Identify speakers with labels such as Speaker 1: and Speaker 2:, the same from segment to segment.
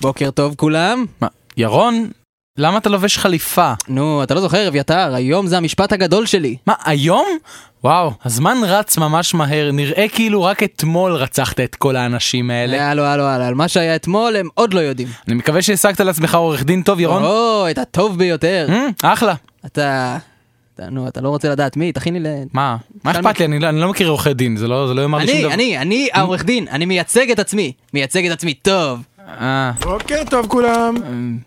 Speaker 1: בוקר טוב כולם.
Speaker 2: מה, ירון, למה אתה לובש חליפה?
Speaker 1: נו, אתה לא זוכר, אביתר, היום זה המשפט הגדול שלי.
Speaker 2: מה, היום? וואו, הזמן רץ ממש מהר, נראה כאילו רק אתמול רצחת את כל האנשים האלה.
Speaker 1: הלו, הלו, הלו, על מה שהיה אתמול הם עוד לא יודעים.
Speaker 2: אני מקווה שהשגת לעצמך עורך דין טוב, ירון.
Speaker 1: או, את הטוב ביותר.
Speaker 2: Mm, אחלה.
Speaker 1: אתה... אתה- נו, אתה לא רוצה לדעת מי, תכין לי ל...
Speaker 2: מה, מה
Speaker 1: שלום.
Speaker 2: אכפת לי? אני לא- אני לא מכיר עורכי דין, זה לא זה לא יאמר לי שום
Speaker 1: אני,
Speaker 2: דבר.
Speaker 1: אני, אני העורך דין, אני מייצג את עצמי. מייצג את עצמי טוב.
Speaker 2: אה,
Speaker 3: בוקר אוקיי, טוב כולם.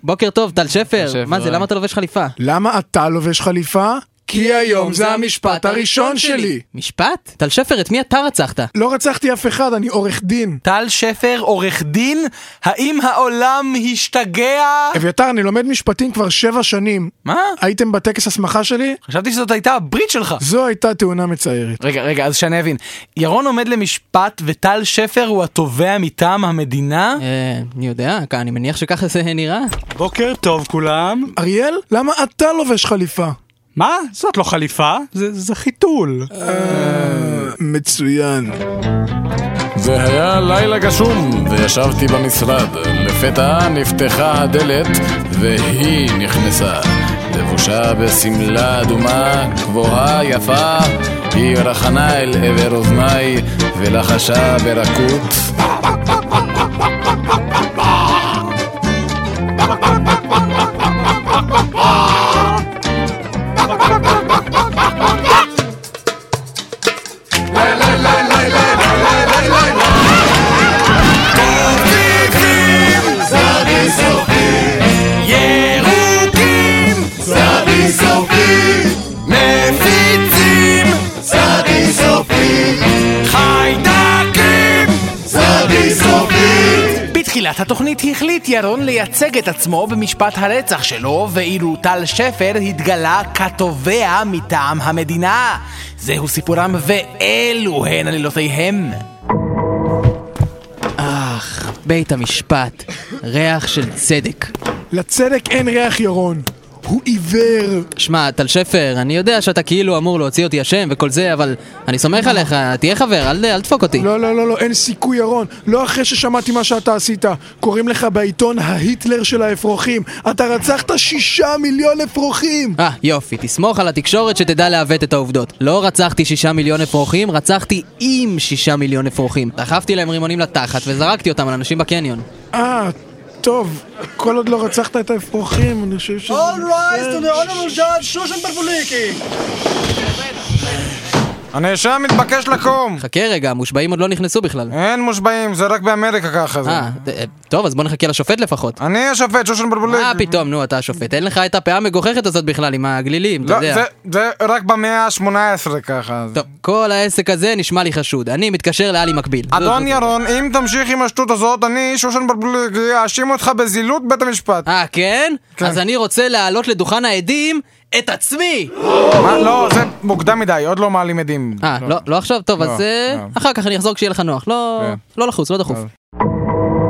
Speaker 1: בוקר טוב, טל שפר.
Speaker 2: טל שפר,
Speaker 1: מה זה, למה אתה לובש חליפה?
Speaker 3: למה אתה לובש חליפה? כי היום זה המשפט הראשון שלי.
Speaker 1: משפט? טל שפר, את מי אתה רצחת?
Speaker 3: לא רצחתי אף אחד, אני עורך דין.
Speaker 2: טל שפר, עורך דין? האם העולם השתגע?
Speaker 3: אביתר, אני לומד משפטים כבר שבע שנים.
Speaker 2: מה?
Speaker 3: הייתם בטקס הסמכה שלי?
Speaker 2: חשבתי שזאת הייתה הברית שלך.
Speaker 3: זו הייתה תאונה מצערת.
Speaker 2: רגע, רגע, אז שאני אבין. ירון עומד למשפט וטל שפר הוא התובע מטעם המדינה?
Speaker 1: אה, אני יודע, אני מניח שככה זה נראה.
Speaker 4: בוקר טוב כולם.
Speaker 3: אריאל, למה אתה לובש חליפה?
Speaker 4: מה? זאת לא חליפה, זה, זה חיתול.
Speaker 3: מצוין.
Speaker 5: זה היה לילה גשום, וישבתי במשרד. לפתע נפתחה הדלת, והיא נכנסה. לבושה בשמלה אדומה, גבוהה, יפה, היא רחנה אל עבר אוזניי, ולחשה ברכות.
Speaker 2: בתחילת התוכנית החליט ירון לייצג את עצמו במשפט הרצח שלו, ואילו טל שפר התגלה כתובע מטעם המדינה. זהו סיפורם ואלו הן עלילותיהם.
Speaker 1: אך, בית המשפט, ריח של צדק.
Speaker 3: לצדק אין ריח ירון. הוא עיוור.
Speaker 1: שמע, טל שפר, אני יודע שאתה כאילו אמור להוציא אותי אשם וכל זה, אבל אני סומך עליך, תהיה חבר, אל אל תדפוק אותי.
Speaker 3: לא, לא, לא, לא, אין סיכוי ירון. לא אחרי ששמעתי מה שאתה עשית. קוראים לך בעיתון ההיטלר של האפרוחים. אתה רצחת שישה מיליון אפרוחים!
Speaker 1: אה, יופי, תסמוך על התקשורת שתדע לעוות את העובדות. לא רצחתי שישה מיליון אפרוחים, רצחתי עם שישה מיליון אפרוחים. דחפתי להם רימונים לתחת וזרקתי אותם על אנשים בקניון.
Speaker 3: אה, טוב, כל עוד לא רצחת את האפרוחים, אני חושב שזה...
Speaker 6: הנאשם מתבקש לקום!
Speaker 1: חכה רגע, המושבעים עוד לא נכנסו בכלל.
Speaker 6: אין מושבעים, זה רק באמריקה ככה זה.
Speaker 1: אה, ד- אה, טוב, אז בוא נחכה לשופט לפחות.
Speaker 6: אני השופט, שושן ברבוליק.
Speaker 1: מה פתאום, נו, אתה השופט. אין לך את הפאה המגוחכת הזאת בכלל עם הגלילים, אתה
Speaker 6: לא,
Speaker 1: יודע.
Speaker 6: זה- זה רק במאה ה-18 ככה.
Speaker 1: טוב, כל העסק הזה נשמע לי חשוד. אני מתקשר לאלי מקביל.
Speaker 6: אדון ירון, אם תמשיך עם השטות הזאת, אני, שושן ברבוליק, אאשים אותך בזילות בית המשפט.
Speaker 1: אה, כן? אז אני רוצה להעלות לדוכן העדים את עצמי!
Speaker 6: מה? לא, זה מוקדם מדי, עוד לא מעלים עדים.
Speaker 1: אה, לא, לא עכשיו? טוב, אז אה,
Speaker 6: לא.
Speaker 1: אחר כך אני אחזור כשיהיה לך נוח. לא
Speaker 6: כן.
Speaker 1: לא לחוץ, לא דחוף.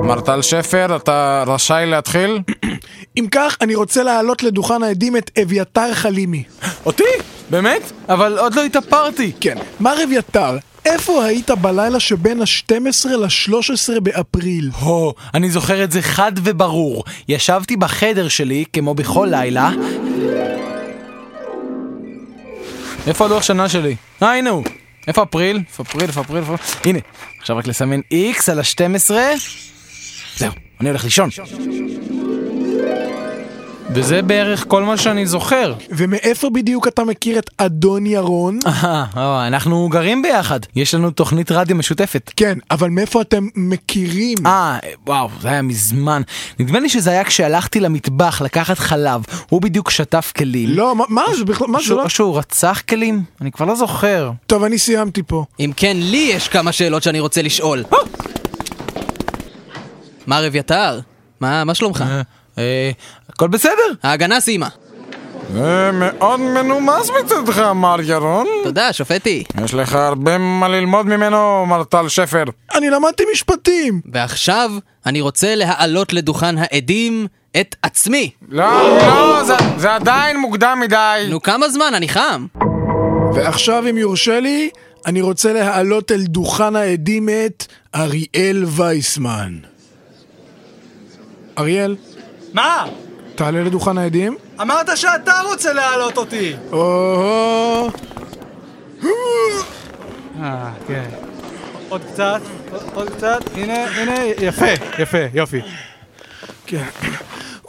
Speaker 5: מר טל שפר, אתה רשאי להתחיל?
Speaker 3: אם כך, אני רוצה להעלות לדוכן העדים את אביתר חלימי.
Speaker 2: אותי? באמת? אבל עוד לא התאפרתי.
Speaker 3: כן. מר אביתר, איפה היית בלילה שבין ה-12 ל-13 באפריל?
Speaker 2: הו, אני זוכר את זה חד וברור. ישבתי בחדר שלי, כמו בכל לילה. איפה הלוח שנה שלי? אה, הנה הוא. איפה אפריל? איפה אפריל? איפה אפריל? איפה... הנה. עכשיו רק לסמן איקס על ה-12. זהו, אני הולך לישון. וזה בערך כל מה שאני זוכר.
Speaker 3: ומאיפה בדיוק אתה מכיר את אדון ירון?
Speaker 2: אהה, אה, אנחנו גרים ביחד. יש לנו תוכנית רדיו משותפת.
Speaker 3: כן, אבל מאיפה אתם מכירים?
Speaker 2: אה, וואו, זה היה מזמן. נדמה לי שזה היה כשהלכתי למטבח לקחת חלב. הוא בדיוק שטף כלים.
Speaker 3: לא, מה- מה זה בכלל? מה זה
Speaker 2: שהוא,
Speaker 3: לא?
Speaker 2: או שהוא רצח כלים? אני כבר לא זוכר.
Speaker 3: טוב, אני סיימתי פה.
Speaker 1: אם כן, לי יש כמה שאלות שאני רוצה לשאול. מר אביתר, מה מה שלומך?
Speaker 2: אה, אה, הכל בסדר?
Speaker 1: ההגנה סיימה.
Speaker 6: זה אה, מאוד מנומס מצדך, מר ירון.
Speaker 1: תודה, שופטי.
Speaker 6: יש לך הרבה מה ללמוד ממנו, מר טל שפר.
Speaker 3: אני למדתי משפטים!
Speaker 1: ועכשיו אני רוצה להעלות לדוכן העדים את עצמי.
Speaker 6: לא, לא, זה- זה עדיין מוקדם מדי.
Speaker 1: נו, כמה זמן? אני חם.
Speaker 3: ועכשיו, אם יורשה לי, אני רוצה להעלות אל דוכן העדים את אריאל וייסמן. אריאל,
Speaker 4: מה?
Speaker 3: תעלה לדוכן העדים.
Speaker 4: אמרת שאתה רוצה להעלות אותי!
Speaker 3: או-הו.
Speaker 4: אה, כן. עוד קצת, עוד- עוד קצת, הנה, הנה, יפה, יפה, יופי.
Speaker 3: כן.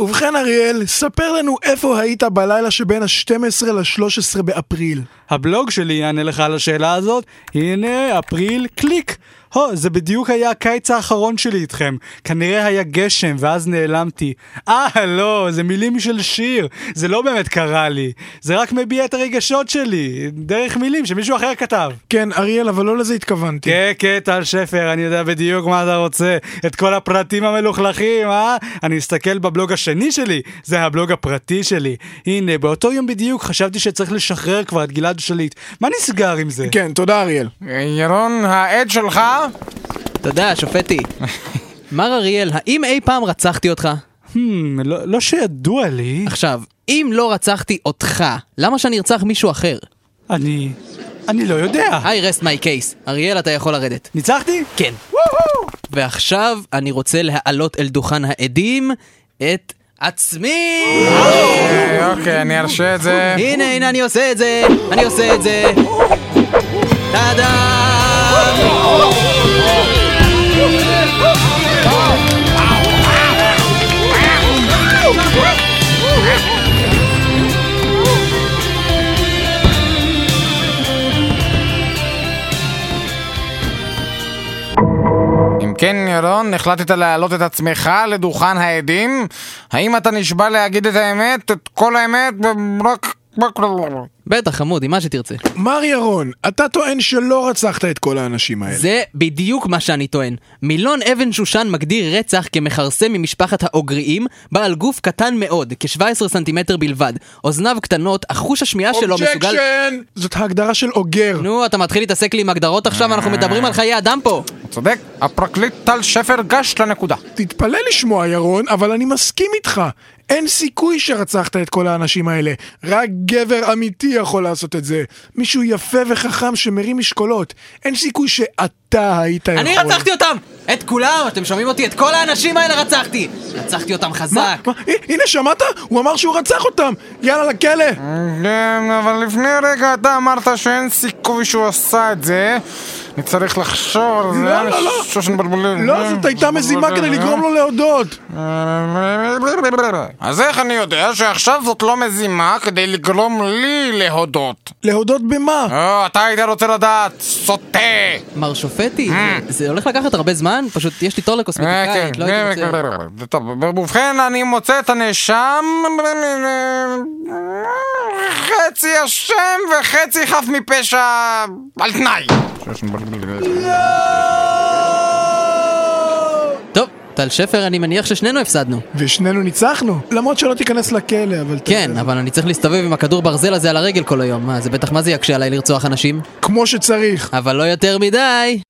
Speaker 3: ובכן אריאל, ספר לנו איפה היית בלילה שבין ה-12 ל-13 באפריל.
Speaker 4: הבלוג שלי יענה לך על השאלה הזאת, הנה אפריל קליק. הו, זה בדיוק היה הקיץ האחרון שלי איתכם. כנראה היה גשם, ואז נעלמתי. אה, לא, זה מילים של שיר. זה לא באמת קרה לי. זה רק מביע את הרגשות שלי, דרך מילים שמישהו אחר כתב.
Speaker 3: כן, אריאל, אבל לא לזה התכוונתי.
Speaker 4: כן, כן, טל שפר, אני יודע בדיוק מה אתה רוצה. את כל הפרטים המלוכלכים, אה? אני אסתכל בבלוג השני שלי, זה הבלוג הפרטי שלי. הנה, באותו יום בדיוק חשבתי שצריך לשחרר כבר את גלעד שליט. מה נסגר עם זה?
Speaker 3: כן, תודה אריאל.
Speaker 6: ירון, העד שלך?
Speaker 1: תודה, שופטי. מר אריאל, האם אי פעם רצחתי אותך?
Speaker 4: Hmm, לא לא שידוע לי.
Speaker 1: עכשיו, אם לא רצחתי אותך, למה שאני ארצח מישהו אחר?
Speaker 4: אני... אני לא יודע.
Speaker 1: I rest my case. אריאל, אתה יכול לרדת.
Speaker 4: ניצחתי?
Speaker 1: כן. ועכשיו אני רוצה להעלות אל דוכן העדים את עצמי!
Speaker 6: אה, אוקיי, אני ארשה את זה.
Speaker 1: הנה, הנה, אני עושה את זה! אני עושה את זה! טאדה!
Speaker 6: אם כן, ירון, החלטת להעלות את עצמך לדוכן העדים? האם אתה נשבע להגיד את האמת, את כל האמת, רק... רק-
Speaker 1: בטח, חמודי, מה שתרצה.
Speaker 3: מר ירון, אתה טוען שלא רצחת את כל האנשים האלה.
Speaker 1: זה בדיוק מה שאני טוען. מילון אבן שושן מגדיר רצח כמכרסם ממשפחת האוגריים, בעל גוף קטן מאוד, כ-17 סנטימטר בלבד. אוזניו קטנות, אך חוש השמיעה שלו מסוגל...
Speaker 3: אובג'קשן! זאת ההגדרה של אוגר.
Speaker 1: נו, אתה מתחיל להתעסק לי עם הגדרות עכשיו, אנחנו מדברים על חיי אדם פה.
Speaker 6: צודק, הפרקליט טל שפר גש לנקודה.
Speaker 3: תתפלא לשמוע, ירון, אבל אני מסכים איתך. אין סיכוי שרצחת את כל האנשים האלה. רק גבר אמיתי יכול לעשות את זה. מישהו יפה וחכם שמרים משקולות. אין סיכוי שאתה היית
Speaker 6: אה,
Speaker 3: יכול.
Speaker 1: אני רצחתי אותם! את כולם! אתם שומעים אותי? את כל האנשים האלה רצחתי! רצחתי אותם חזק!
Speaker 3: מה? הי- הנה, שמעת? הוא אמר שהוא רצח אותם! יאללה, לכלא!
Speaker 6: כן, אבל לפני רגע אתה אמרת שאין סיכוי שהוא עשה את זה. אני צריך לחשוב על זה. כן,
Speaker 3: לא, לא, לא.
Speaker 6: שושן בלבולים.
Speaker 3: לא, זאת הייתה מזימה כדי לגרום לו להודות.
Speaker 6: אז איך אני יודע שעכשיו זאת לא מזימה כדי לגרום לי להודות?
Speaker 3: להודות במה?
Speaker 6: אה, אתה היית רוצה לדעת, סוטה!
Speaker 1: מר שופטי, זה- זה הולך לקחת הרבה זמן? פשוט יש לי תור
Speaker 6: אה, כן,
Speaker 1: לקוסמטיקאית, לא הייתי רוצה...
Speaker 6: טוב, ובכן, אני מוצא את הנאשם חצי אשם וחצי חף מפשע על תנאי. כן.
Speaker 1: טוב, טל שפר, אני מניח ששנינו הפסדנו.
Speaker 3: ושנינו ניצחנו. למרות שלא תיכנס לכלא, אבל... אתה
Speaker 1: כן,
Speaker 3: יודע.
Speaker 1: אבל אני צריך להסתובב עם הכדור ברזל הזה על הרגל כל היום. מה, זה בטח מה זה יקשה עליי לרצוח אנשים?
Speaker 3: כמו שצריך.
Speaker 1: אבל לא יותר מדי!